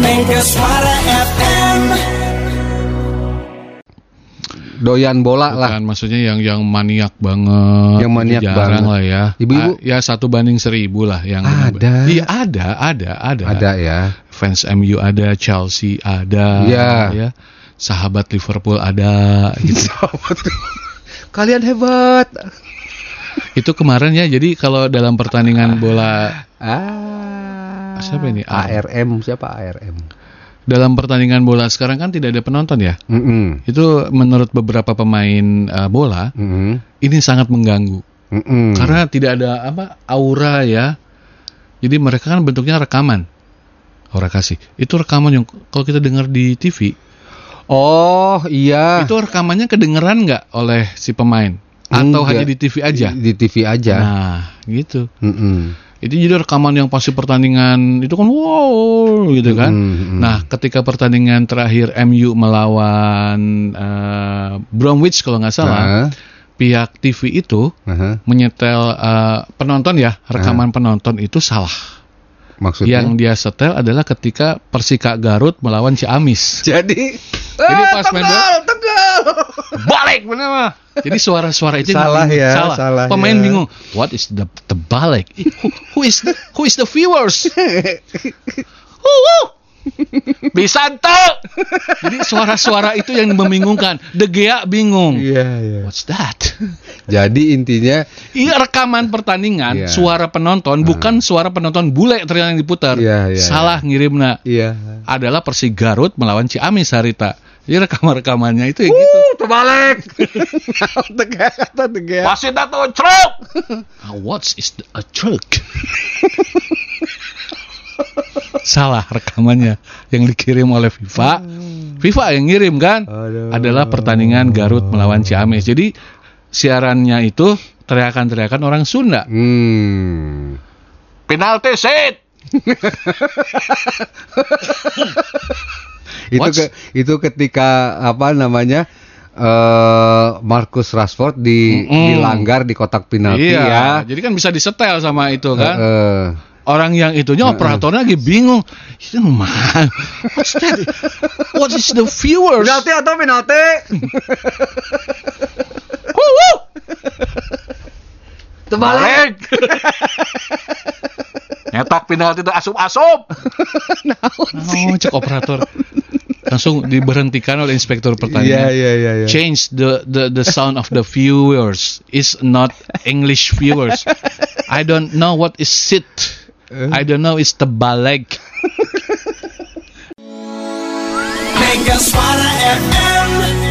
Mega Suara FM doyan bola lah. Bukan, Kan, maksudnya yang yang maniak banget. Yang maniak Jarang banget. lah ya. Ibu-ibu? Ah, ya satu banding seribu lah yang Ada. Iya ada, ada, ada. Ada ya. Fans MU ada, Chelsea ada, Iya. ya. Sahabat Liverpool ada. Gitu. Kalian hebat. Itu kemarin ya. Jadi kalau dalam pertandingan bola Ah. Siapa ini? Ah. ARM siapa ARM? dalam pertandingan bola sekarang kan tidak ada penonton ya. Mm-mm. Itu menurut beberapa pemain eh, bola Mm-mm. ini sangat mengganggu. Mm-mm. karena tidak ada apa aura ya jadi mereka kan bentuknya rekaman aura kasih itu rekaman yang kalau kita dengar di TV Oh iya. itu rekamannya kedengeran nggak oleh si pemain atau Enggak. Iya. hanya di TV aja di TV aja. nah gitu Mm-mm. itu jadi rekaman yang pasti pertandingan itu kan wow gitu kan Mm-mm. nah ketika pertandingan terakhir MU melawan eh, Bromwich kalau nggak Ah, salah pihak TV itu aha. menyetel eh, penonton ya Ah. rekaman penonton itu salah Maksudnya. Yang dia setel adalah ketika Persika Garut melawan Ciamis. Jadi. Jadi Ah, pas main Hmm. tegal, tegal. Balik bener mah. Jadi suara-suara itu Salah bingung. ya, salah. salah Pemain ya. bingung. What is the the balik? Who, who is the, who is the viewers? Who, who? Bisanto. Jadi suara-suara itu yang membingungkan. De Gea bingung. Iya, iya. What's that? Jadi intinya Iya rekaman pertandingan, Iya. Ah. suara penonton bukan suara penonton bule ternyata yang diputar. Iya, iya, iya. salah ngirimna. iya. adalah Persik Garut melawan Ciamis Harita. Jadi rekaman-rekamannya itu ya gitu. terbalik. tegal kata tegal. Wasit atau truk? What is the- a truk? Salah rekamannya yang dikirim oleh FIFA. FIFA yang ngirim kan? Aduh. Adalah pertandingan Garut melawan Ciamis. Jadi siarannya itu teriakan-teriakan orang Sunda. Hmm. Penalti set. itu What's- ke, itu ketika apa namanya eh Marcus Rashford di Mm-mm. dilanggar di kotak penalti Iya. ya. Jadi kan bisa disetel sama itu Eh, kan? eh. orang yang itunya operatornya lagi bingung itu mah what's that what is the viewers atau penalti? Woo, woo. Terbalik. nyetak penalti itu asup-asup oh, cek operator langsung diberhentikan oleh inspektur Iya pertandingan iya iya. iya. change the, the the sound of the viewers is not English viewers I don't know what is it Eh? I don't know is the balek Mega Suara FM